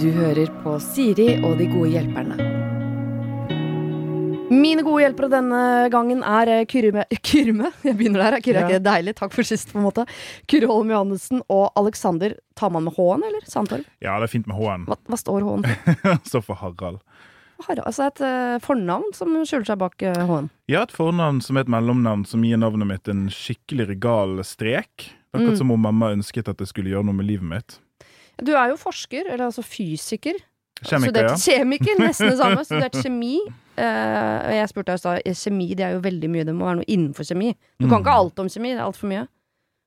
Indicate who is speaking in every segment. Speaker 1: Du hører på Siri og de gode hjelperne. Mine gode hjelpere denne gangen er eh, Kyrme Kyrme? Jeg begynner der. er Kyrre er
Speaker 2: Ja.
Speaker 1: ikke det deilig? Takk for sist, på en måte. Kyrre Holm Johannessen og Alexander Tar man med H-en, eller? Sandtorv?
Speaker 2: Ja, det er fint med H-en.
Speaker 1: Hva, hva står H-en for?
Speaker 2: Står for Harald.
Speaker 1: Har- Altså et eh, fornavn som skjuler seg bak eh, H-en.
Speaker 2: Jeg har et fornavn som er et mellomnavn som gir navnet mitt en skikkelig regal strek. Det er Akkurat som om mamma ønsket at jeg skulle gjøre noe med livet mitt.
Speaker 1: Du er jo forsker, eller altså fysiker.
Speaker 2: Kjemiker, ja.
Speaker 1: studert kjemiker, nesten det samme. Studert kjemi. Eh, og jeg spurte deg i stad, eh, kjemi det er jo veldig mye, det må være noe innenfor kjemi. Du kan
Speaker 2: Mm.
Speaker 1: ikke alt om kjemi, det er altfor mye.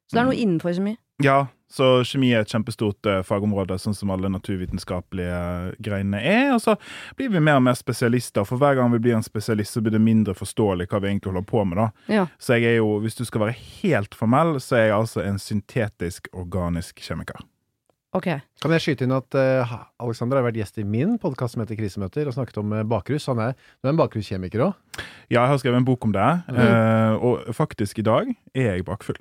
Speaker 1: Så det er noe innenfor kjemi.
Speaker 2: Ja, så kjemi er et kjempestort eh, fagområde, sånn som alle naturvitenskapelige eh, greiene er. Og så blir vi mer og mer spesialister, for hver gang vi blir en spesialist, så blir det mindre forståelig hva vi egentlig holder på med, da.
Speaker 1: Ja.
Speaker 2: Så jeg er jo, hvis du skal være helt formell, så er jeg altså en syntetisk organisk kjemiker.
Speaker 1: Ok.
Speaker 3: Kan jeg skyte inn at eh, ha- Alexander har vært gjest i min podkast som heter Krisemøter, og snakket om eh, bakrus. Han er, du er en bakruskjemiker òg.
Speaker 2: Ja, jeg har skrevet en bok om det, eh, og faktisk i dag er jeg bakfull.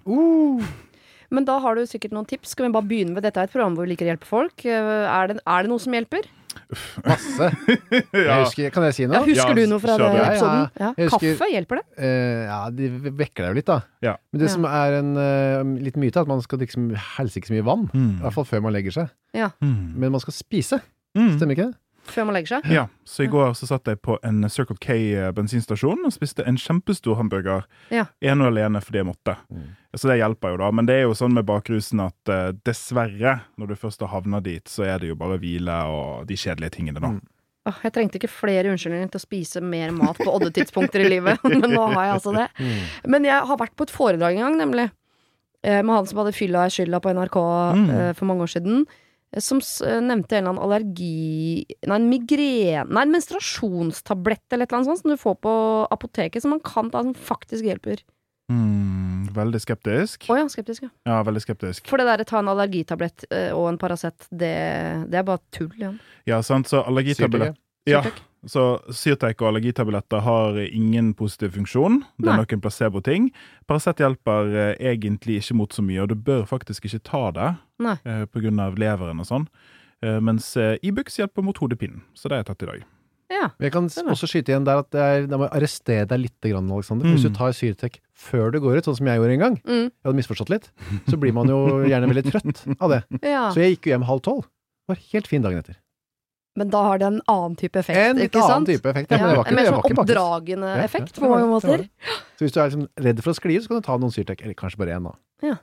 Speaker 1: Men da har du sikkert noen tips. Skal vi bare begynne med Dette er et program hvor vi liker å hjelpe folk. Eh, Er det, er det noe som hjelper?
Speaker 3: Masse.
Speaker 2: Ja.
Speaker 3: jeg husker, kan jeg si
Speaker 1: Ja,
Speaker 3: noe?
Speaker 1: husker
Speaker 2: Ja,
Speaker 1: du noe fra
Speaker 2: kjør
Speaker 1: den
Speaker 2: på.
Speaker 1: episoden?
Speaker 3: Ja, ja.
Speaker 1: Ja.
Speaker 3: Jeg husker-
Speaker 1: Kaffe, hjelper det?
Speaker 3: Eh, ja, de vekker deg jo litt, da.
Speaker 2: Ja.
Speaker 3: Men det
Speaker 1: Ja.
Speaker 3: som er en eh, liten myte, er at man skal drikke så mye- helst ikke så mye vann. I hvert fall før man legger seg.
Speaker 2: Mm.
Speaker 3: Men man skal spise,
Speaker 2: Mm.
Speaker 3: stemmer ikke det?
Speaker 1: Før man legger seg?
Speaker 2: Ja, så i går så satt jeg på en Circle K eh, bensinstasjon og spiste en kjempestor hamburger.
Speaker 1: Ja.
Speaker 2: En og alene fordi jeg måtte.
Speaker 3: Mm.
Speaker 2: Så det hjelper jo, da. Men det er jo sånn med bakrusen at eh, dessverre, når du først har havna dit, så er det jo bare hvile og de kjedelige tingene, da.
Speaker 3: Mm.
Speaker 1: Åh, jeg trengte ikke flere unnskyldninger til å spise mer mat på oddetidspunkter i livet, men nå har jeg altså det.
Speaker 3: Mm.
Speaker 1: Men jeg har vært på et foredrag en gang, nemlig. eh, Med han som hadde fylla i skylda på NRK
Speaker 2: Mm.
Speaker 1: eh, for mange år siden. eh, Som s- eh, nevnte en eller annen allergi Nei, en migrene Nei, en menstruasjonstablett eller et eller annet sånt som du får på apoteket, som man kan ta, som faktisk hjelper.
Speaker 2: Mm, veldig skeptisk.
Speaker 1: Å ja, skeptisk, ja.
Speaker 2: Ja, veldig skeptisk.
Speaker 1: For det derre ta en allergitablett eh, og en Paracet, det, det er bare tull igjen.
Speaker 2: Ja, sant, så allergitabletter
Speaker 3: Syrtøyet.
Speaker 2: ja, Så Syrtec og allergitabletter har ingen positiv funksjon. Det er
Speaker 1: Nei.
Speaker 2: noen placebo-ting. Paracet hjelper eh, egentlig ikke mot så mye, og du bør faktisk ikke ta det
Speaker 1: Nei.
Speaker 2: eh, pga. leveren og sånn. Eh, mens eh, Ibux hjelper mot hodepinen, så det har jeg tatt i dag.
Speaker 1: Ja.
Speaker 3: Men Jeg kan s- også skyte igjen der at det er, da må jeg arrestere deg litt, grann, Alexander. For Hvis
Speaker 2: Mm.
Speaker 3: du tar Syrtec før du går ut, sånn som jeg gjorde en gang,
Speaker 1: Mm,
Speaker 3: jeg hadde misforstått litt, så blir man jo gjerne veldig trøtt av det.
Speaker 1: ja.
Speaker 3: Så jeg gikk jo hjem halv tolv. Var helt fin dagen etter.
Speaker 1: Men da har det en annen type effekt,
Speaker 3: En litt
Speaker 1: ikke sant?
Speaker 3: annen type effekt. Ja, men det var ikke,
Speaker 1: mer
Speaker 3: det
Speaker 1: sånn
Speaker 3: var ikke bakrus.
Speaker 1: oppdragende
Speaker 3: Ja, ja,
Speaker 1: effekt
Speaker 3: det
Speaker 1: på
Speaker 3: var
Speaker 1: mange
Speaker 3: det, det var
Speaker 1: måter.
Speaker 3: det. Så hvis du er liksom redd for å skli ut, så kan du ta noen Syrtec, eller kanskje bare én, da.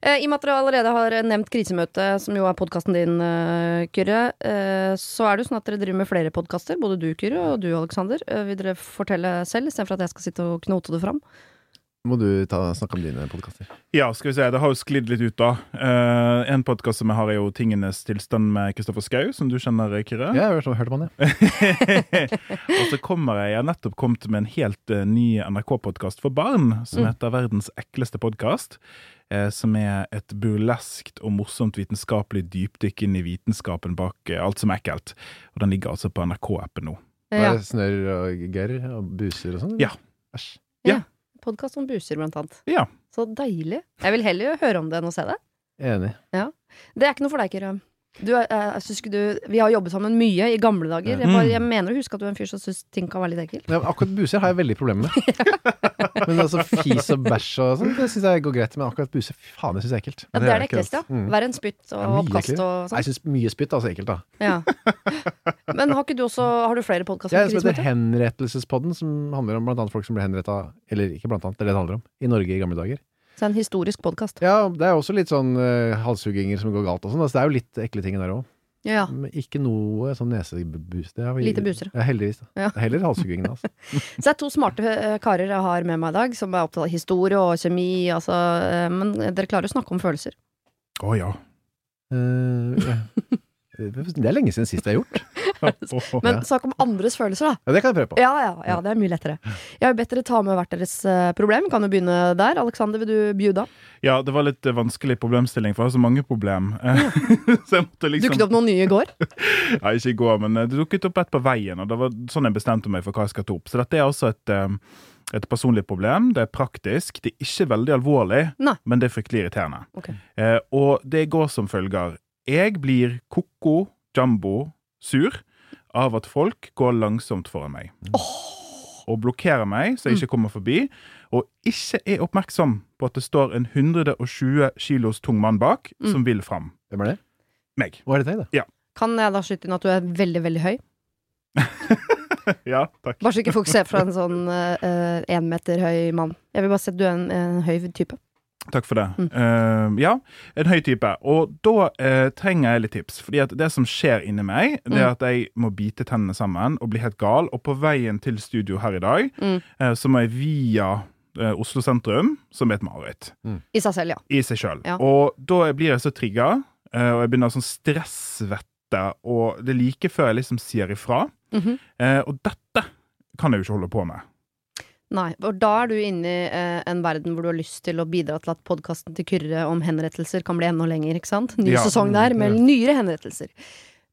Speaker 1: Eh, I og med at dere allerede har nevnt Krisemøtet, som jo er podkasten din, eh, Kyrre, eh, så er det jo sånn at dere driver med flere podkaster. Både du, Kyrre, og du, Aleksander. Eh, vil dere fortelle selv, istedenfor at jeg skal sitte og knote det fram?
Speaker 3: Må du ta, snakke om dine podkaster.
Speaker 2: Ja, skal vi se, det har jo sklidd litt ut, da. Eh, en podkast som jeg har, er jo Tingenes tilstand med Kristoffer Schou, som du kjenner, Kyrre.
Speaker 3: Ja, jeg hørte, hørte man det.
Speaker 2: og så kommer jeg Jeg har nettopp kommet med en helt eh, ny NRK-podkast for barn som heter Verdens ekleste podkast. Eh, som er et burleskt og morsomt vitenskapelig dypdykk inn i vitenskapen bak eh, alt som er ekkelt. Og den ligger altså på NRK-appen nå.
Speaker 3: Ja.
Speaker 1: Eh, Ja,
Speaker 3: Snørr og gørr og buser og sånn?
Speaker 2: Ja.
Speaker 3: Æsj.
Speaker 1: Podkast om buser, blant annet.
Speaker 2: Ja.
Speaker 1: Så deilig. Jeg vil heller høre om det enn å se det.
Speaker 3: Enig.
Speaker 1: Det er ikke noe for deg, Kyrre. Du, er- eh, jeg synes ikke du, vi har jobbet sammen mye i gamle dager. Jeg, bare,
Speaker 3: Mm.
Speaker 1: jeg mener å huske at du er en fyr som syns ting kan være litt ekkelt.
Speaker 3: Ja, men akkurat buser har jeg veldig problemer med. Men altså fis og bæsj og sånn, det syns jeg går greit. Men akkurat buser, fy faen, det syns jeg er ekkelt.
Speaker 1: Ja, det
Speaker 2: Det
Speaker 1: er
Speaker 2: er
Speaker 1: det ekkelt, ja.
Speaker 2: ekkelt.
Speaker 3: Mm.
Speaker 1: Verre enn spytt
Speaker 3: Ja,
Speaker 1: og
Speaker 3: mye
Speaker 1: oppkast
Speaker 3: ekkelt.
Speaker 1: og sånn.
Speaker 3: Jeg syns mye spytt, altså ekkelt, da.
Speaker 1: Ja. Men har ikke du også Har du flere podkaster?
Speaker 3: Jeg er en som heter Henrettelsespodden, som handler om blant annet folk som ble henretta, eller ikke blant annet, det er det det handler om, i Norge i gamle dager.
Speaker 1: Så en historisk podkast.
Speaker 3: Ja, det er også litt sånn uh, halshugginger som går galt og sånn, altså det er jo litt ekle ting der òg.
Speaker 1: Ja.
Speaker 3: Men ikke noe sånn nesebus. Det har vi-
Speaker 1: Lite busere.
Speaker 3: Ja, heldigvis. da.
Speaker 1: Ja.
Speaker 3: Heller halshuggingene, altså.
Speaker 1: Så det er to smarte eh, karer jeg har med meg i dag, som er opptatt av historie og kjemi. Altså, eh, men dere klarer å snakke om følelser.
Speaker 2: Å ja.
Speaker 3: Eh, ja. Det er lenge siden sist jeg har gjort.
Speaker 1: Men snakk om andres følelser, da.
Speaker 3: Ja, det kan jeg prøve på.
Speaker 1: Ja, ja, ja, det er mye lettere. Jeg har bedt dere ta med hvert deres eh, problem. Kan jo begynne der. Aleksander, vil du bjuda?
Speaker 2: ja, det var litt eh, vanskelig problemstilling, for jeg har så mange problem. Eh, så jeg måtte liksom
Speaker 1: Dukket opp noen nye i går?
Speaker 2: Ja, ikke i går, men eh, det dukket opp et på veien, og det var sånn jeg bestemte meg for hva jeg skal ta opp. Så dette er altså et, eh, et personlig problem. Det er praktisk. Det er ikke veldig alvorlig,
Speaker 1: Nei.
Speaker 2: men det er fryktelig irriterende.
Speaker 1: Ok.
Speaker 2: Eh, og det går som følger. Jeg blir koko, jumbo, sur av at folk går langsomt foran meg. Og blokkerer meg,
Speaker 1: Mm.
Speaker 2: så jeg ikke kommer forbi. Og ikke er oppmerksom på at det står en 120 kilos tung mann bak,
Speaker 1: Mm.
Speaker 2: som vil fram.
Speaker 3: Hvem er det?
Speaker 2: Meg.
Speaker 3: Hva er dette, da?
Speaker 1: Kan jeg da skyte inn at du er veldig, veldig høy?
Speaker 2: Ja, takk.
Speaker 1: Bare så ikke folk ser fra en sånn eh, én meter høy mann. Jeg vil bare si at du er en, en høy type.
Speaker 2: Takk for det.
Speaker 1: Mm.
Speaker 2: Eh, ja, en høy type. Og da eh, trenger jeg litt tips. Fordi at det som skjer inni meg, det
Speaker 1: Mm.
Speaker 2: er at jeg må bite tennene sammen og bli helt gal. Og på veien til studio her i dag,
Speaker 1: Mm.
Speaker 2: eh, så må jeg via eh, Oslo sentrum, som er et mareritt
Speaker 1: I seg selv, ja.
Speaker 2: i seg sjøl.
Speaker 1: Ja.
Speaker 2: Og da jeg blir jeg så trigga, eh, og jeg begynner å sånn stressvette, og det er like før jeg liksom sier ifra.
Speaker 1: Mhm.
Speaker 2: Eh, og dette kan jeg jo ikke holde på med.
Speaker 1: Nei, og da er du inne i eh, en verden hvor du har lyst til å bidra til at podkasten til Kyrre om henrettelser kan bli enda lenger, ikke sant? Ny
Speaker 2: Ja.
Speaker 1: sesong der, med
Speaker 3: Mm.
Speaker 1: nyere henrettelser.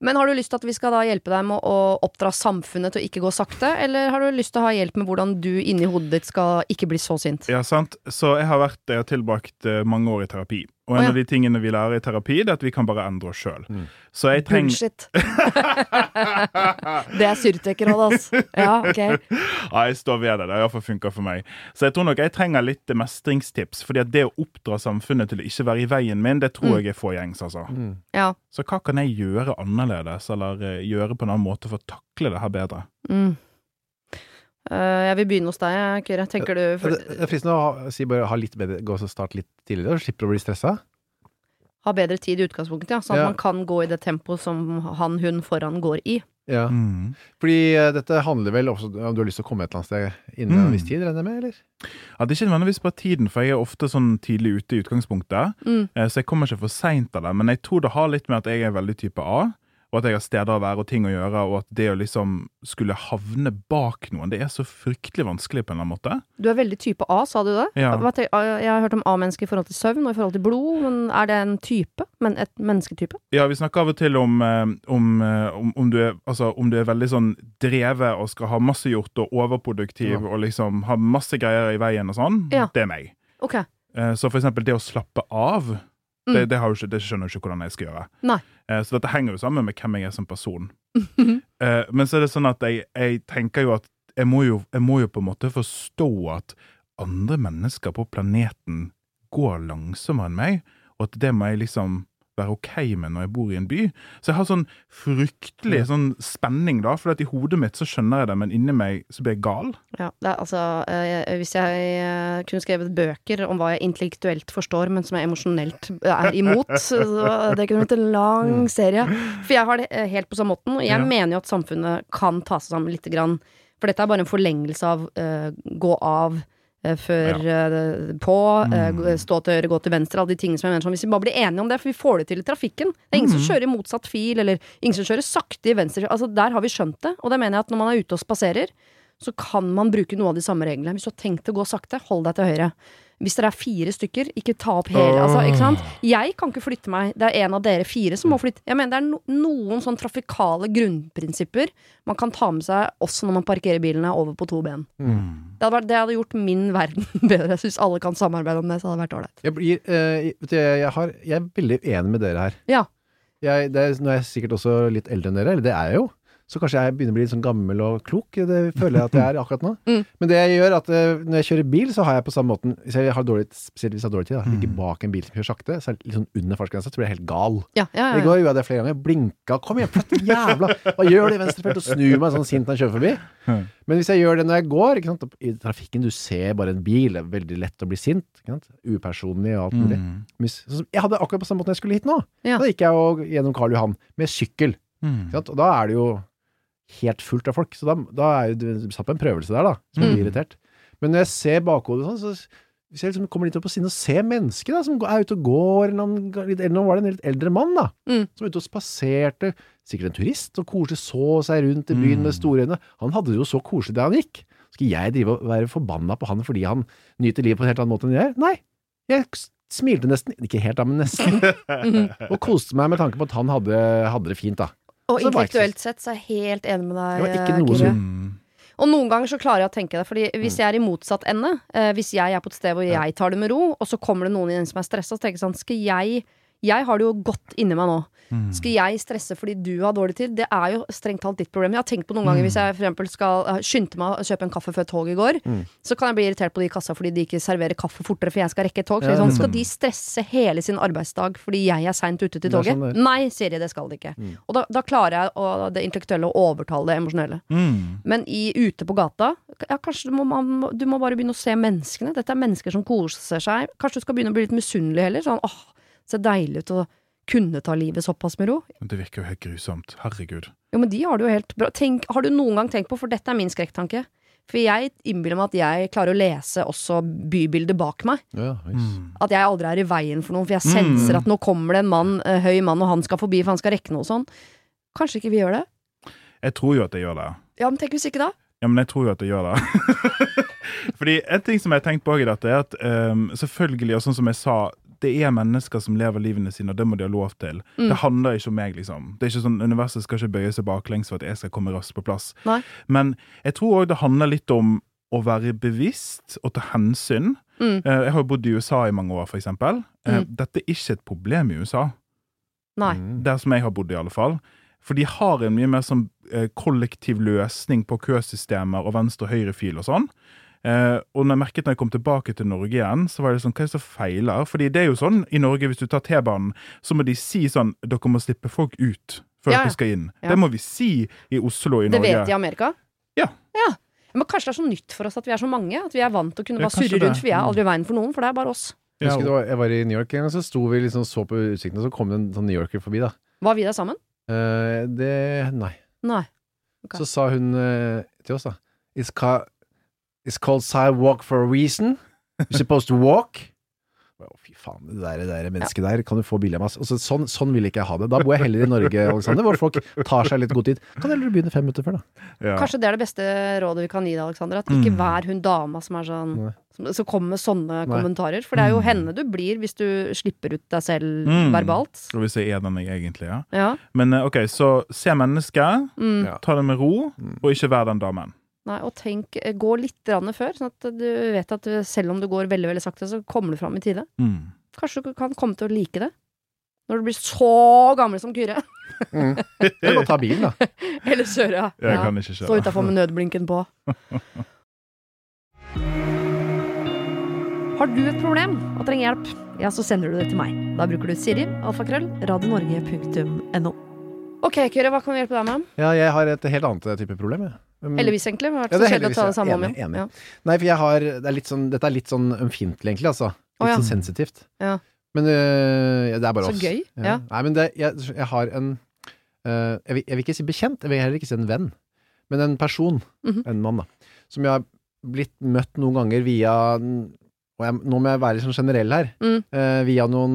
Speaker 1: Men har du lyst til at vi skal da hjelpe deg med å oppdra samfunnet til å ikke gå sakte, eller har du lyst til å ha hjelp med hvordan du inni hodet ditt skal ikke bli så sint?
Speaker 2: Ja, sant? Så jeg har vært, jeg har tilbrakt eh, mange år i terapi. Og en
Speaker 1: Å, ja.
Speaker 2: av de tingene vi lærer i terapi, det er at vi kan bare endre oss sjøl.
Speaker 3: Mm.
Speaker 2: Så jeg trenger
Speaker 1: Bullshit. det er surtekerhold, altså. Ja, ok.
Speaker 2: Ja, jeg står ved det. Det har iallfall funka for meg. Så jeg tror nok jeg trenger litt mestringstips. fordi at det å oppdra samfunnet til å ikke være i veien min, det tror
Speaker 1: Mm.
Speaker 2: jeg er få gjengs, altså.
Speaker 3: Mm.
Speaker 1: Ja.
Speaker 2: Så hva kan jeg gjøre annerledes, eller eh, gjøre på en annen måte for å takle det her bedre?
Speaker 1: Mm. Eh, jeg vil begynne hos deg, Kyrre. Tenker du
Speaker 3: Det det er fristende å ha, si bare ha litt bedre, gå og start litt tidligere, så slipper du å bli stressa.
Speaker 1: ha bedre tid i utgangspunktet, ja. Sånn at
Speaker 3: Ja.
Speaker 1: man kan gå i det tempoet som han, hun foran går i.
Speaker 3: Ja.
Speaker 2: Mm.
Speaker 3: Fordi eh, dette handler vel også om du har lyst til å komme et eller annet sted innen
Speaker 2: Mm.
Speaker 3: en viss tid, regner jeg med, eller?
Speaker 2: Ja, det er ikke nødvendigvis bare tiden, for jeg er ofte sånn tidlig ute i utgangspunktet.
Speaker 1: Mm.
Speaker 2: Eh, Så jeg kommer ikke for seint av det, men jeg tror det har litt med at jeg er veldig type A. Og at jeg har steder å være og ting å gjøre, og at det å liksom skulle havne bak noen, det er så fryktelig vanskelig på en eller annen måte.
Speaker 1: Du er veldig type A, sa du det?
Speaker 2: Ja.
Speaker 1: Hva tenk- Jeg har hørt om A-mennesker i forhold til søvn og i forhold til blod, men er det en type? Men et mennesketype?
Speaker 2: Ja, vi snakker av og til om, eh, om, eh, om, om, du, er, altså, om du er veldig sånn drevet og skal ha masse gjort og overproduktiv og liksom ha masse greier i veien og sånn.
Speaker 1: Ja.
Speaker 2: Det er meg.
Speaker 1: Ok.
Speaker 2: Eh, Så for eksempel det å slappe av,
Speaker 1: Mm.
Speaker 2: det, det, har jo ikke, det skjønner jeg ikke hvordan jeg skal gjøre.
Speaker 1: Nei.
Speaker 2: Eh, Så dette henger jo sammen med hvem jeg er som person.
Speaker 1: Mhm.
Speaker 2: Eh, Men så er det sånn at jeg, jeg tenker jo at jeg må jo, jeg må jo på en måte forstå at andre mennesker på planeten går langsommere enn meg, og at det må jeg liksom være ok med når jeg bor i en by. Så jeg har sånn fryktelig sånn spenning, da, for at i hodet mitt så skjønner jeg det, men inni meg så blir jeg gal.
Speaker 1: Ja, det er, altså, eh, hvis jeg eh, kunne skrevet bøker om hva jeg intellektuelt forstår, men som jeg emosjonelt er imot, så det kunne blitt en lang serie. For jeg har det eh, helt på samme måten, og jeg
Speaker 2: Mm. Ja.
Speaker 1: mener jo at samfunnet kan ta seg sammen lite grann. For dette er bare en forlengelse av eh, gå av eh, før eh, på, eh,
Speaker 2: Mm.
Speaker 1: gå- stå til høyre, gå til venstre, alle de tingene som jeg mener sånn. Hvis vi bare blir enige om det, for vi får det til i trafikken. Det er ingen som
Speaker 2: Mm.
Speaker 1: kjører i motsatt fil, eller ingen som kjører sakte i venstre. Altså, der har vi skjønt det, og det mener jeg at når man er ute og spaserer, så kan man bruke noe av de samme reglene. Hvis du har tenkt å gå sakte, hold deg til høyre. Hvis dere er fire stykker, ikke ta opp hele altså, ikke sant? Jeg kan ikke flytte meg. Det er en av dere fire som må flytte. Jeg mener, Det er no noen sånn trafikale grunnprinsipper man kan ta med seg også når man parkerer bilene over på to ben.
Speaker 3: Mm.
Speaker 1: Det hadde, vært, det hadde gjort min verden bedre. Jeg syns alle kan samarbeide om det, så hadde det vært ålreit.
Speaker 3: Jeg, blir, eh, vet du, jeg, jeg, har, jeg er veldig enig med dere her.
Speaker 1: Ja.
Speaker 3: Jeg, det er, nå er jeg sikkert også litt eldre enn dere, eller det er jeg jo. Så kanskje jeg begynner å bli litt sånn gammel og klok. Det føler jeg at jeg er akkurat nå.
Speaker 1: Mm.
Speaker 3: Men det jeg gjør, er at eh, når jeg kjører bil, så har jeg på samme måten Hvis jeg har dårlig, spesielt hvis jeg har dårlig tid, da, ligger bak en bil som kjører sakte, så er det litt sånn under fartsgrensa, så blir jeg helt gal.
Speaker 1: Ja, ja,
Speaker 3: I
Speaker 1: ja.
Speaker 3: går gjorde jeg det flere ganger. Blinka. Kom igjen, flatt jævla Hva gjør du i venstrefelt? Og snur meg sånn sint når jeg kjører forbi.
Speaker 2: Mm.
Speaker 3: Men hvis jeg gjør det når jeg går ikke sant? og I trafikken, du ser bare en bil. Det er veldig lett å bli sint. Ikke sant? Upersonlig og alt mulig.
Speaker 2: Mm.
Speaker 3: Mis- Sånn som- Jeg hadde det akkurat på samme måte når jeg skulle hit nå.
Speaker 1: Ja.
Speaker 3: Da gikk jeg jo gjennom Karl Johan med sykkel.
Speaker 2: Mm.
Speaker 3: Ikke sant? Og da er det jo helt fullt av folk. Så da, da er jo du satt på en prøvelse der, da. Som
Speaker 2: Mm.
Speaker 3: blir irritert. Men når jeg ser bakhodet sånn, så hvis jeg liksom kommer litt opp på siden og ser mennesker da, som er ute og går, eller om, eller om var det en litt eldre mann da,
Speaker 1: Mm.
Speaker 3: som er ute og spaserte, sikkert en turist, og koselig så seg rundt i byen
Speaker 2: Mm.
Speaker 3: med store øyne. Han hadde det jo så koselig der han gikk. Skal jeg drive og være forbanna på han fordi han nyter livet på en helt annen måte enn jeg? gjør? Nei, jeg s- smilte nesten, ikke helt da, men nesten,
Speaker 1: Mhm.
Speaker 3: og koste meg med tanke på at han hadde, hadde det fint da.
Speaker 1: Og
Speaker 3: Så det var ikke så-
Speaker 1: intellektuelt sett så er jeg helt enig med deg.
Speaker 3: Det var ikke noe
Speaker 1: Kyrre.
Speaker 2: Mm.
Speaker 1: Og noen ganger så klarer jeg å tenke det. Fordi
Speaker 3: Mm.
Speaker 1: hvis jeg er i motsatt ende, eh, hvis jeg er på et sted hvor jeg tar det med ro, og så kommer det noen inn som er stressa, så tenker jeg sånn Skal jeg Jeg har det jo godt inni meg nå.
Speaker 3: Mm.
Speaker 1: Skal jeg stresse fordi du har dårlig tid? Det er jo strengt talt ditt problem. Jeg har tenkt på noen ganger hvis
Speaker 3: Mm.
Speaker 1: jeg for eksempel skal eh, skynde meg å kjøpe en kaffe før toget går, så kan jeg bli irritert på de i kassa fordi de ikke serverer kaffe fortere, for jeg skal rekke et tog. Så jeg er
Speaker 3: Ja,
Speaker 1: sånn, skal de stresse hele sin arbeidsdag fordi jeg er seint ute til
Speaker 3: Det er
Speaker 1: toget?
Speaker 3: sånn det er. Mm.
Speaker 1: Nei, sier de, det skal de ikke. Og da, da klarer jeg å, det intellektuelle å overtale det emosjonelle.
Speaker 2: Mm.
Speaker 1: Men i, ute på gata ja, Kanskje du må, man, må- du må bare begynne å se menneskene. Dette er mennesker som koser seg. Kanskje du skal begynne å bli litt misunnelig heller. Sånn, åh, ser deilig ut å kunne ta livet såpass med ro.
Speaker 2: Det virker jo helt grusomt. Herregud.
Speaker 1: Jo, men de har det jo helt bra. Tenk, har du noen gang tenkt på, for dette er min skrekktanke For jeg innbiller meg at jeg klarer å lese også bybildet bak meg.
Speaker 3: Ja, visst.
Speaker 1: At jeg aldri er i veien for noen, for jeg senser at nå kommer det en mann, eh, høy mann, og han skal forbi, for han skal rekke noe sånn. Kanskje ikke vi gjør det?
Speaker 2: Jeg tror jo at jeg gjør det.
Speaker 1: Ja, men tenk hvis ikke da?
Speaker 2: Ja, men jeg tror jo at jeg gjør det. Fordi en ting som jeg har tenkt på i dette, er at ehm, selvfølgelig, og sånn som jeg sa, det er mennesker som lever livene sine, og det må de ha lov til. Det handler ikke om meg, liksom. Det er ikke sånn, Universet skal ikke bøye seg baklengs for at jeg skal komme raskt på plass.
Speaker 1: Nei.
Speaker 2: Men jeg tror òg det handler litt om å være bevisst og ta hensyn.
Speaker 1: Mm.
Speaker 2: Eh, Jeg har jo bodd i USA i mange år, for eksempel. Eh, Dette er ikke et problem i USA.
Speaker 1: Nei.
Speaker 3: Mm.
Speaker 2: Der som jeg har bodd, i alle fall. For de har en mye mer sånn eh, kollektiv løsning på køsystemer og venstre- og høyrefil og sånn. Eh, og når jeg merket når jeg kom tilbake til Norge igjen, så var det sånn Hva er det som feiler? Fordi det er jo sånn i Norge, hvis du tar T-banen, så må de si sånn Dere må slippe folk ut før
Speaker 1: Ja, ja.
Speaker 2: dere skal inn.
Speaker 1: Ja.
Speaker 2: Det må vi si i Oslo og i
Speaker 1: Det
Speaker 2: Norge.
Speaker 1: vet de i Amerika?
Speaker 2: Ja.
Speaker 1: Men kanskje det er så nytt for oss at vi er så mange? At vi er vant til å kunne
Speaker 2: Ja,
Speaker 1: bare
Speaker 2: kanskje
Speaker 1: surre rundt,
Speaker 2: det. Mm.
Speaker 1: for vi er aldri i veien for noen, for det er bare oss.
Speaker 2: Ja,
Speaker 3: Jeg husker det var, jeg var i New York en gang, så sto vi liksom så på utsikten, og så kom det en sånn New Yorker forbi, da.
Speaker 1: Var vi der sammen?
Speaker 3: Eh, det Nei.
Speaker 1: Nei.
Speaker 3: Så sa hun eh, til oss, da It's, ca It's called sidewalk for a reason. You're supposed to walk. Å, fy faen, det der, det der mennesket der, kan du få billig av meg? ass? Altså, sånn, sånn vil ikke jeg ha det. Da bor jeg heller i Norge, Alexander, hvor folk tar seg litt god tid. Kan heller begynne fem minutter før, da.
Speaker 2: ja. Mm.
Speaker 1: Kanskje det er det beste rådet vi kan gi deg, Alexander. At ikke vær hun dama som er sånn
Speaker 3: Nei.
Speaker 1: som, som kommer med sånne kommentarer. For det er jo henne du blir hvis du slipper ut deg selv
Speaker 2: Mm.
Speaker 1: verbalt.
Speaker 2: Skal vi se er den jeg egentlig er.
Speaker 1: Ja.
Speaker 2: Men eh, OK, så se mennesket,
Speaker 1: Mm.
Speaker 3: Ja.
Speaker 2: ta det med ro, og ikke vær den damen.
Speaker 1: Nei, og tenk, eh, gå litt grann før, sånn at du vet at du- selv om du går veldig veldig sakte, så kommer du fram i tide.
Speaker 2: Mm.
Speaker 1: Kanskje du kan komme til å like det. Når du blir så gammel som Kyrre.
Speaker 3: Eller bare ta bilen, da.
Speaker 1: Eller Søre.
Speaker 2: Jeg kan ikke
Speaker 1: Stå
Speaker 2: kjøre.
Speaker 1: utafor med nødblinken på. Har du et problem og trenger hjelp, ja, så sender du det til meg. Da bruker du Siri, alfakrøll, radionorge.no. Ok, Kyrre, hva kan vi hjelpe deg med?
Speaker 3: Ja, jeg har et helt annet type problem, jeg. Um,
Speaker 1: Heldigvis, egentlig. Vi har vært
Speaker 3: Ja,
Speaker 1: så
Speaker 3: det er
Speaker 1: kjedelig å ta det
Speaker 3: heldigvis,
Speaker 1: samme om
Speaker 3: ja.
Speaker 1: igjen.
Speaker 3: Enig,
Speaker 1: Ja.
Speaker 3: Nei, for jeg har det er litt sånn, Dette er litt sånn ømfintlig, egentlig, altså. Litt
Speaker 1: Å, ja.
Speaker 3: sånn sensitivt.
Speaker 1: Ja.
Speaker 3: Men øh, ja, det er bare
Speaker 1: Så
Speaker 3: oss.
Speaker 1: gøy,
Speaker 3: Ja.
Speaker 1: ja.
Speaker 3: Nei, men det, jeg, jeg har en øh, jeg, vil, jeg vil ikke si bekjent, jeg vil heller ikke si en venn, men en person,
Speaker 1: Mhm.
Speaker 3: en mann, da, som jeg har blitt møtt noen ganger via den- og jeg, Nå må jeg være litt sånn generell her.
Speaker 1: Mm.
Speaker 3: øh, via noen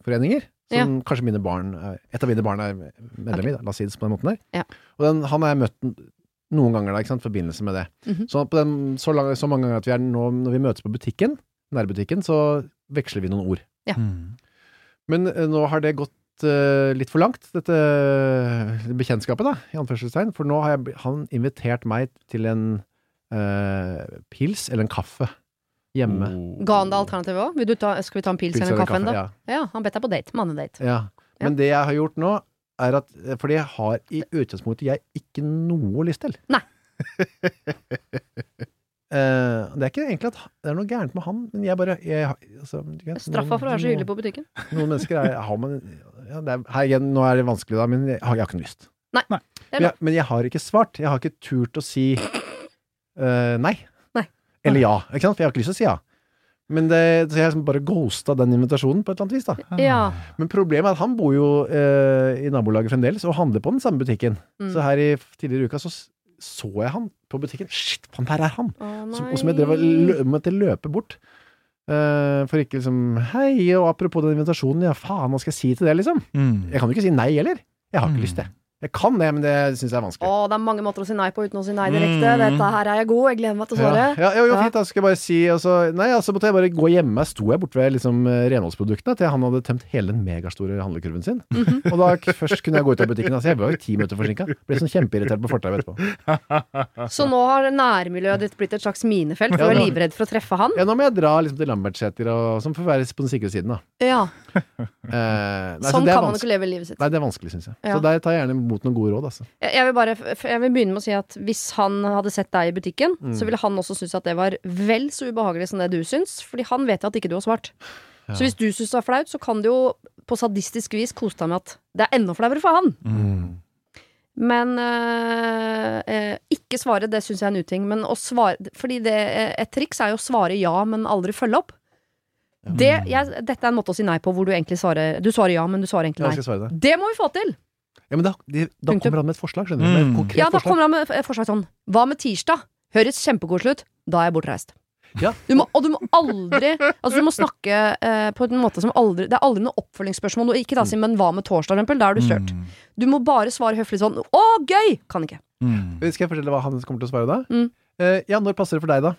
Speaker 3: idrettsforeninger. som kanskje mine barn er- Et av mine barn er medlem i, da, la oss si det på den måten der.
Speaker 1: Ja.
Speaker 3: Og den, han har jeg møtt n- noen ganger da, ikke sant, i forbindelse med det.
Speaker 1: Mhm.
Speaker 3: Så, på den, så, lang, så mange ganger at vi er nå, når vi møtes på butikken, nærbutikken, så veksler vi noen ord.
Speaker 2: Mm.
Speaker 3: Men eh, nå har det gått eh, litt for langt, dette eh, bekjentskapet, da, i anførselstegn. For nå har jeg, bli- han invitert meg til en eh, pils eller en kaffe
Speaker 2: Mm.
Speaker 3: hjemme.
Speaker 2: Oh.
Speaker 1: Ga han deg alternativet òg? Vil du ta- Skal vi ta en pils eller en kaffe ennå? Ja.
Speaker 3: ja.
Speaker 1: han bedt deg på date. Mannedate.
Speaker 3: Ja. Men det jeg har gjort nå, er at eh, Fordi jeg har i utgangspunktet jeg ikke noe lyst til.
Speaker 1: Nei.
Speaker 3: Eh, det er ikke egentlig at det er noe gærent med han, men jeg bare jeg, altså, du vet,
Speaker 1: Straffa for å være så hyggelig på butikken.
Speaker 3: noen, noen mennesker er, har man ja, det er, her igjen, Nå er det vanskelig, da, men jeg har, jeg har ikke noe lyst.
Speaker 1: Nei.
Speaker 2: Nei.
Speaker 1: er
Speaker 3: Men, jeg, men jeg har ikke svart. Jeg har ikke turt å si eh, nei.
Speaker 1: Nei.
Speaker 3: Eller ja. Ikke sant? For jeg har ikke lyst til å si ja. Men det, så jeg har liksom bare ghosta den invitasjonen på et eller annet vis. da
Speaker 1: Ja.
Speaker 3: men problemet er at han bor jo eh, i nabolaget fremdeles og handler på den samme butikken.
Speaker 1: Mm.
Speaker 3: Så her i f- tidligere i uka så s- så jeg han på butikken. Shit, faen, der er han!
Speaker 1: Å,
Speaker 3: Så,
Speaker 1: nei.
Speaker 3: og som jeg drev og lø måtte løpe bort. Eh, for ikke liksom Hei, og apropos den invitasjonen, ja faen, hva skal jeg si til det, liksom?
Speaker 2: Mm.
Speaker 3: Jeg kan jo ikke si nei heller. Jeg har ikke
Speaker 2: Mm.
Speaker 3: lyst, jeg. Jeg kan det, men det syns jeg er vanskelig.
Speaker 1: Å, det er mange måter å si nei på uten å si nei direkte.
Speaker 2: Mm.
Speaker 1: Dette her er jeg god, jeg gleder meg til
Speaker 3: Ja,
Speaker 1: svaret.
Speaker 3: ja, jo, jo,
Speaker 1: Ja.
Speaker 3: fint, da skal jeg bare si og så- Nei, altså måtte jeg bare gå hjemme. Sto jeg borte ved liksom, eh, renholdsproduktene til han hadde tømt hele den megastore handlekurven sin.
Speaker 1: Mhm.
Speaker 3: Og da k- først kunne jeg gå ut av butikken. Altså, jeg var jo ti minutter forsinka. Ble sånn kjempeirritert på fortauet etterpå.
Speaker 1: Så nå har nærmiljøet ditt blitt et slags minefelt, for du er
Speaker 3: Ja, det-
Speaker 1: livredd for å treffe han.
Speaker 3: Ja, nå må jeg dra liksom, til Lambertseter, og- som får være på den sikre siden, da.
Speaker 1: Ja,
Speaker 3: Eh, nei, så
Speaker 1: Sånn
Speaker 3: det er
Speaker 1: kan man
Speaker 3: vanskelig.
Speaker 1: ikke leve livet sitt.
Speaker 3: Nei, det er vanskelig, syns jeg.
Speaker 1: Ja.
Speaker 3: Så der tar jeg gjerne imot noen gode råd, altså.
Speaker 1: Jeg jeg vil, bare, f- jeg vil begynne med å si at hvis han hadde sett deg i butikken,
Speaker 3: Mm.
Speaker 1: så ville han også synes at det var vel så ubehagelig som det du syns, fordi han vet jo at ikke du har svart. Så hvis du syns det er flaut, så kan du jo på sadistisk vis kose deg med at det er enda flauere for han.
Speaker 2: Mm.
Speaker 1: Men øh, eh, ikke svare, det syns jeg er en uting. Men å svare, fordi det, eh, et triks er jo å svare ja, men aldri følge opp. Det, jeg, dette er en måte å si nei på, hvor du egentlig svarer Du svarer ja, men du svarer
Speaker 3: Ja,
Speaker 1: egentlig
Speaker 3: jeg skal
Speaker 1: nei.
Speaker 3: svare deg.
Speaker 1: Det må vi få til!
Speaker 3: Ja, men da, de, da
Speaker 1: Punktum.
Speaker 3: kommer han med et forslag, skjønner du. Med et
Speaker 2: Mm.
Speaker 3: konkret
Speaker 1: Ja, da
Speaker 3: forslag.
Speaker 1: kommer han med et forslag sånn Hva med tirsdag? Høres kjempekoselig ut. Da er jeg bortreist.
Speaker 3: Ja.
Speaker 1: Du må, og du må aldri Altså du må snakke eh, på en måte som aldri Det er aldri noe oppfølgingsspørsmål. Og Ikke da si
Speaker 3: Mm.
Speaker 1: 'men hva med torsdag', for eksempel? Da er du kjørt.
Speaker 2: Mm.
Speaker 1: Du må bare svare høflig sånn 'å, gøy!' Kan ikke.
Speaker 2: Mm.
Speaker 3: Skal jeg fortelle hva han kommer til å svare da?
Speaker 1: Mm.
Speaker 3: Eh, ja, når passer det for deg, da?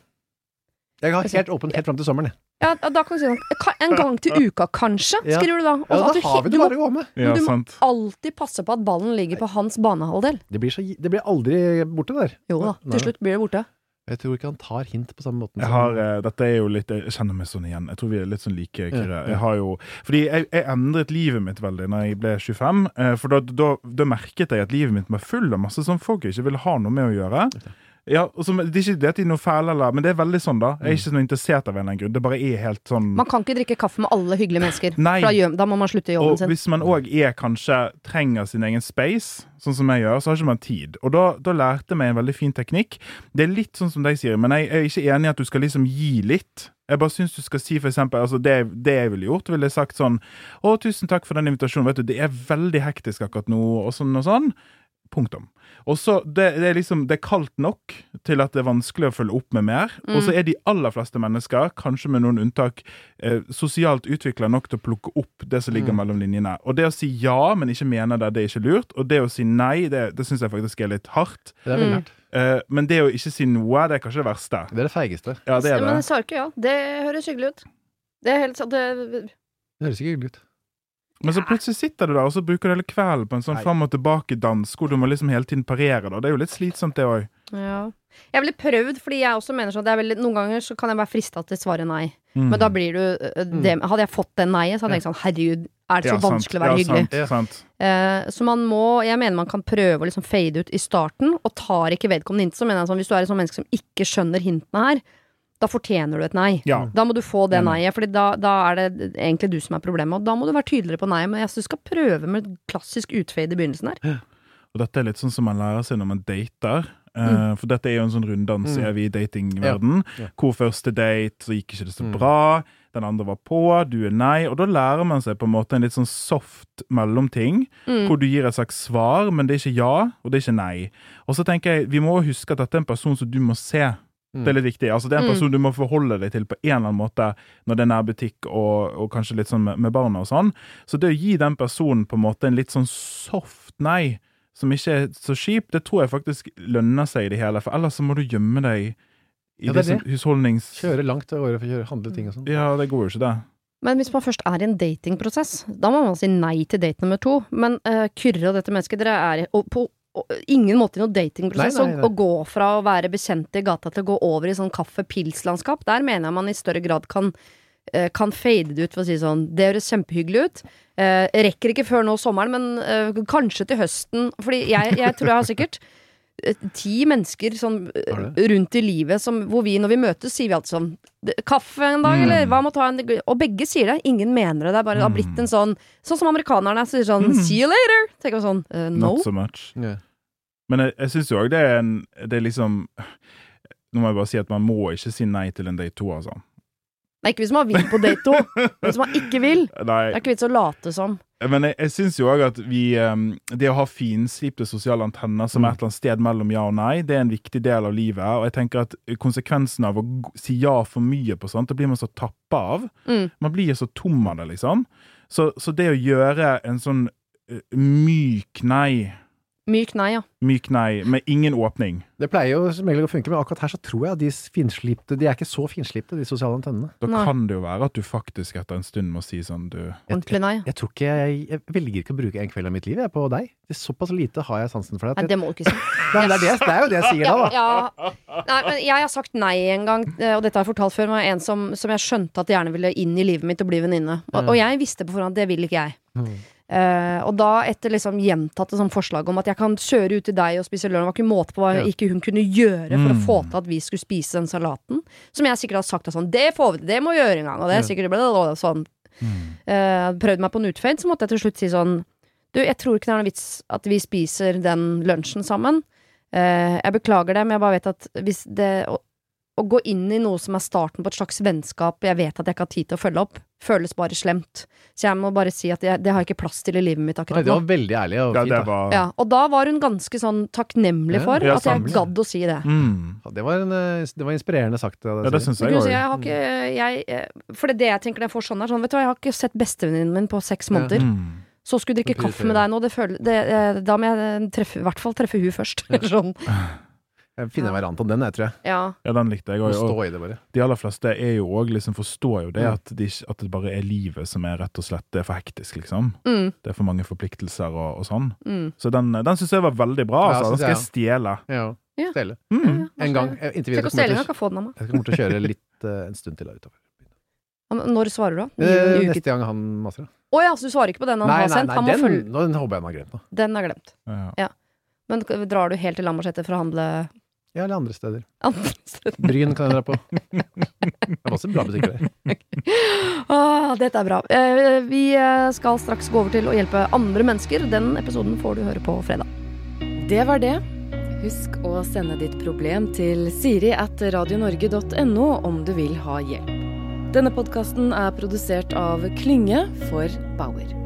Speaker 3: Jeg har
Speaker 1: Altså,
Speaker 3: helt åpent helt fram til sommeren. jeg.
Speaker 1: Ja, da kan du si sånn "Ka- En gang til uka, kanskje,
Speaker 3: Ja.
Speaker 1: skriver du da.
Speaker 3: Ja,
Speaker 1: Og at
Speaker 3: da
Speaker 1: du
Speaker 3: har
Speaker 1: he-
Speaker 3: vi
Speaker 1: du
Speaker 3: det
Speaker 1: må
Speaker 3: bare å gå med.
Speaker 2: Ja,
Speaker 1: du må-
Speaker 2: sant.
Speaker 1: alltid passe på at ballen ligger på hans banehalvdel.
Speaker 3: Det blir, så, det blir aldri borte der.
Speaker 1: Jo da,
Speaker 3: Nei,
Speaker 1: til
Speaker 3: nei.
Speaker 1: slutt blir det borte.
Speaker 3: Jeg tror ikke han tar hint på samme måten.
Speaker 2: Jeg
Speaker 3: som-
Speaker 2: har, eh, dette er jo litt, jeg kjenner meg sånn igjen. Jeg tror vi er litt sånn like. Kyrre.
Speaker 3: ja.
Speaker 2: Jeg har jo, fordi jeg, jeg endret livet mitt veldig Når jeg ble 25. eh, For da, da, da merket jeg at livet mitt var full av masse sånn folk jeg ikke ville ha noe med å gjøre. Ja, og som, det er ikke det at de er noe fæle, eller, men det er veldig sånn, da. Jeg er ikke så noe interessert av en eller annen grunn. Det bare er helt sånn
Speaker 1: Man kan ikke drikke kaffe med alle hyggelige mennesker.
Speaker 2: Nei.
Speaker 1: For da, gjør, da må man slutte i jobben
Speaker 2: Og
Speaker 1: sin.
Speaker 2: hvis man òg er kanskje trenger sin egen space, sånn som jeg gjør, så har ikke man tid. Og da, da lærte jeg meg en veldig fin teknikk. Det er litt sånn som deg sier, men jeg, jeg er ikke enig i at du skal liksom gi litt. Jeg bare syns du skal si for eksempel, altså det, det jeg ville gjort, ville jeg sagt sånn Å, tusen takk for den invitasjonen, vet du, det er veldig hektisk akkurat nå, og sånn og sånn. Punktum. Og så det, det er liksom Det er kaldt nok til at det er vanskelig å følge opp med mer.
Speaker 1: Mm.
Speaker 2: Og så er de aller fleste mennesker, kanskje med noen unntak, eh, sosialt utvikla nok til å plukke opp det som
Speaker 1: Mm.
Speaker 2: ligger mellom linjene. Og det å si ja, men ikke mene det, det er ikke lurt. Og det å si nei, det, det syns jeg faktisk er litt hardt.
Speaker 3: Det er veldig
Speaker 1: Mm.
Speaker 3: rart.
Speaker 2: Eh, men det å ikke si noe, det er kanskje det verste.
Speaker 3: Det er det feigeste.
Speaker 2: Ja, det er
Speaker 1: Men jeg
Speaker 2: det.
Speaker 1: svarer ikke ja. Det høres hyggelig ut. Det er helt sant. Det
Speaker 3: Det høres ikke hyggelig ut.
Speaker 2: Men så plutselig sitter du der, og så bruker du hele kvelden på en sånn
Speaker 3: Nei.
Speaker 2: fram og tilbake-dans hvor du må liksom hele tiden parere, da. Det er jo litt slitsomt, det òg.
Speaker 1: Ja. Jeg ville prøvd, fordi jeg også mener sånn at jeg veldig, noen ganger så kan jeg være frista til å svare nei.
Speaker 2: Mm.
Speaker 1: Men da blir du øh, det, Hadde jeg fått den nei-et, så hadde jeg tenkt sånn herregud, er det så vanskelig å være hyggelig?
Speaker 2: Sant, sant.
Speaker 1: Eh, så man må Jeg mener man kan prøve å liksom fade ut i starten, og tar ikke vedkommende hint, så mener jeg sånn hvis du er et sånt menneske som ikke skjønner hintene her, da fortjener du et nei.
Speaker 2: Ja.
Speaker 1: Da må du få det
Speaker 2: Enig.
Speaker 1: nei-et, for da, da er det egentlig du som er problemet. Og da må du være tydeligere på nei, men jeg syns du skal prøve med et klassisk utfade i begynnelsen her.
Speaker 2: Og dette er litt sånn som man lærer seg når man dater. Eh, For dette er jo en sånn runddans
Speaker 3: Mm.
Speaker 2: er vi i datingverden.
Speaker 3: Ja. Ja.
Speaker 2: Hvor første date, så gikk ikke det så
Speaker 3: Mm.
Speaker 2: bra. Den andre var på, du er nei. Og da lærer man seg på en måte en litt sånn soft mellomting.
Speaker 1: Mm.
Speaker 2: Hvor du gir et slags svar, men det er ikke ja, og det er ikke nei. Og så tenker jeg, vi må også huske at dette er en person som du må se.
Speaker 3: Mm.
Speaker 2: Det er litt viktig. Altså, det er en
Speaker 1: Mm.
Speaker 2: person du må forholde deg til på en eller annen måte når det er nærbutikk og, og kanskje litt sånn med, med barna og sånn. Så det å gi den personen på en måte en litt sånn soft nei, som ikke er så kjip, det tror jeg faktisk lønner seg i det hele. For ellers så må du gjemme deg i
Speaker 3: Ja,
Speaker 2: det
Speaker 3: det er
Speaker 2: som husholdnings...
Speaker 3: Kjøre langt av gårde for å kjøre, handle ting og sånn.
Speaker 2: Ja, det går jo ikke, det.
Speaker 1: Men hvis man først er i en datingprosess, da må man si nei til date nummer to. Men eh, Kyrre og dette mennesket, dere er i- og på og, ingen måte i noen datingprosess.
Speaker 3: Nei, nei, nei.
Speaker 1: Å å gå fra å være bekjente i gata til å gå over i sånn kaffe-pils-landskap, der mener jeg man i større grad kan eh, kan fade det ut for å si sånn Det høres kjempehyggelig ut. Eh, rekker ikke før nå sommeren, men eh, kanskje til høsten. Fordi jeg, jeg tror jeg har sikkert eh, ti mennesker sånn, eh,
Speaker 3: Har
Speaker 1: rundt i livet som, hvor vi når vi møtes, sier vi alltid sånn "Det- Kaffe en dag,
Speaker 2: Mm.
Speaker 1: eller hva med å ta en Og begge sier det. Ingen mener det. Det er bare det har blitt en sånn Sånn som amerikanerne sier sånn
Speaker 2: Mm.
Speaker 1: See you later! Tenker man sånn eh, No.
Speaker 2: Not so much.
Speaker 3: Mm. Ja.
Speaker 2: Men jeg, jeg syns jo òg det er en Det er liksom Nå må jeg bare si at man må ikke si nei til en date to, altså.
Speaker 1: Nei, ikke hvis man vil på date to. Men Hvis man ikke vil.
Speaker 2: Nei.
Speaker 1: Det er ikke vits å late som.
Speaker 2: Men jeg, jeg syns jo òg at vi ehm, Det å ha finslipte sosiale antenner som er et eller annet sted mellom ja og nei, det er en viktig del av livet. Og jeg tenker at konsekvensen av å g- si ja for mye på sånt, det blir man så tappa av.
Speaker 1: Mm.
Speaker 2: Man blir så tom av det, liksom. Så, så det å gjøre en sånn eh, myk nei
Speaker 1: Myk nei, ja.
Speaker 2: Myk nei, med ingen åpning.
Speaker 3: Det pleier jo som regel å funke, men akkurat her så tror jeg at de finslipte De er ikke så finslipte, de sosiale antennene.
Speaker 2: Da
Speaker 1: Nei.
Speaker 2: kan det jo være at du faktisk etter en stund må si sånn du
Speaker 1: Ordentlig nei.
Speaker 3: Jeg tror ikke jeg, jeg velger ikke å bruke en kveld av mitt liv jeg, på deg. Det er såpass lite har jeg sansen for deg.
Speaker 1: Nei,
Speaker 3: at jeg-
Speaker 1: det må du ikke si.
Speaker 3: Nei, men det, er det, det er jo det jeg sier da, da.
Speaker 1: Ja, ja. Nei, men jeg har sagt nei en gang, eh, og dette har jeg fortalt før, men en som, som jeg skjønte at gjerne ville inn i livet mitt og bli venninne. Og,
Speaker 2: Mm.
Speaker 1: og jeg visste på forhånd at det vil ikke jeg.
Speaker 3: Mm.
Speaker 1: Eh, og da, etter liksom gjentatte sånn forslag om at jeg kan kjøre ut til deg og spise lørdag, det var ikke måte på hva
Speaker 3: Ja.
Speaker 1: ikke hun kunne gjøre for å
Speaker 2: Mm.
Speaker 1: få til at vi skulle spise den salaten, som jeg sikkert har sagt at sånn, det får vi til, det må vi gjøre en gang, og det er sikkert blablabla, sånn. Eh, prøvd meg på en utfade, så måtte jeg til slutt si sånn Du, jeg tror ikke det er noen vits at vi spiser den lunsjen sammen. Eh, jeg beklager det, men jeg bare vet at hvis det å, å gå inn i noe som er starten på et slags vennskap jeg vet at jeg ikke har tid til å følge opp, føles bare slemt. Så jeg må bare si at jeg, det har jeg ikke plass til i livet mitt
Speaker 3: Nei,
Speaker 1: akkurat
Speaker 3: det var
Speaker 1: nå.
Speaker 3: veldig ærlig og
Speaker 2: Ja,
Speaker 3: fint.
Speaker 2: det
Speaker 3: da.
Speaker 2: var
Speaker 1: Ja, og da var hun ganske sånn takknemlig
Speaker 3: Ja,
Speaker 1: for
Speaker 2: ja,
Speaker 1: at jeg
Speaker 2: samlet.
Speaker 1: gadd å si det.
Speaker 2: mm.
Speaker 3: Ja, Det var, en, eh, det var inspirerende sagt. av deg,
Speaker 2: Ja, det
Speaker 3: Siri.
Speaker 2: syns
Speaker 1: Så
Speaker 2: jeg
Speaker 1: kunne du si,
Speaker 2: òg.
Speaker 1: jeg har ikke, jeg, eh, for det er det jeg tenker når jeg får sånn, er sånn Vet du hva, jeg har ikke sett bestevenninnen min på seks
Speaker 3: Ja.
Speaker 1: måneder.
Speaker 2: Mm.
Speaker 1: Så skulle drikke
Speaker 3: Prioritere.
Speaker 1: kaffe med deg nå, det føler, det, eh, da må jeg treffe, i hvert fall treffe hun først. Eller sånn.
Speaker 3: Jeg finner en variant av den, jeg, tror jeg.
Speaker 1: Ja.
Speaker 2: Ja, den likte jeg
Speaker 3: Må
Speaker 2: òg.
Speaker 3: stå i det, bare.
Speaker 2: de aller fleste er jo også, liksom, forstår jo det,
Speaker 3: Mm.
Speaker 2: at, de, ikke- at det bare er livet som er rett og slett det er for hektisk, liksom.
Speaker 1: Mm,
Speaker 2: Det er for mange forpliktelser og, og sånn.
Speaker 1: mm.
Speaker 2: Så den, den syns jeg var veldig bra.
Speaker 3: Ja,
Speaker 2: Altså. Den
Speaker 3: synes
Speaker 2: skal
Speaker 3: jeg
Speaker 2: jeg stjele.
Speaker 3: Ja.
Speaker 1: Ja.
Speaker 3: Stelle.
Speaker 1: Ja,
Speaker 2: Mm.
Speaker 1: ja, kanskje-
Speaker 3: En gang. eh, Inntil
Speaker 1: Trenger
Speaker 3: videre
Speaker 1: ikke å stjele engang,
Speaker 3: kommer til å-
Speaker 1: kan få den av meg.
Speaker 3: jeg kommer til å kjøre litt eh, en stund til da utover.
Speaker 1: Ja, men Når svarer du, da?
Speaker 3: Eh,
Speaker 1: I uke-
Speaker 3: Neste gang han maser. da.
Speaker 1: Å ja, så du svarer ikke på den han
Speaker 3: Nei,
Speaker 1: har
Speaker 3: nei,
Speaker 1: sendt?
Speaker 3: nei,
Speaker 1: Han må
Speaker 3: den,
Speaker 1: følge
Speaker 3: nå- den håper jeg han har glemt nå.
Speaker 1: Den er glemt.
Speaker 2: Ja.
Speaker 1: Men k- drar du helt til Lambertseter for å handle
Speaker 3: Ja, eller andre steder.
Speaker 1: andre steder?
Speaker 3: Bryn kan jeg dra på. Det er masse bra butikker der.
Speaker 1: Ah, dette er bra. Eh, Vi eh, skal straks gå over til å hjelpe andre mennesker. Den episoden får du høre på fredag.
Speaker 4: Det var det. Husk å sende ditt problem til siri at radionorge.no om du vil ha hjelp. Denne podkasten er produsert av Klynge for Bauer.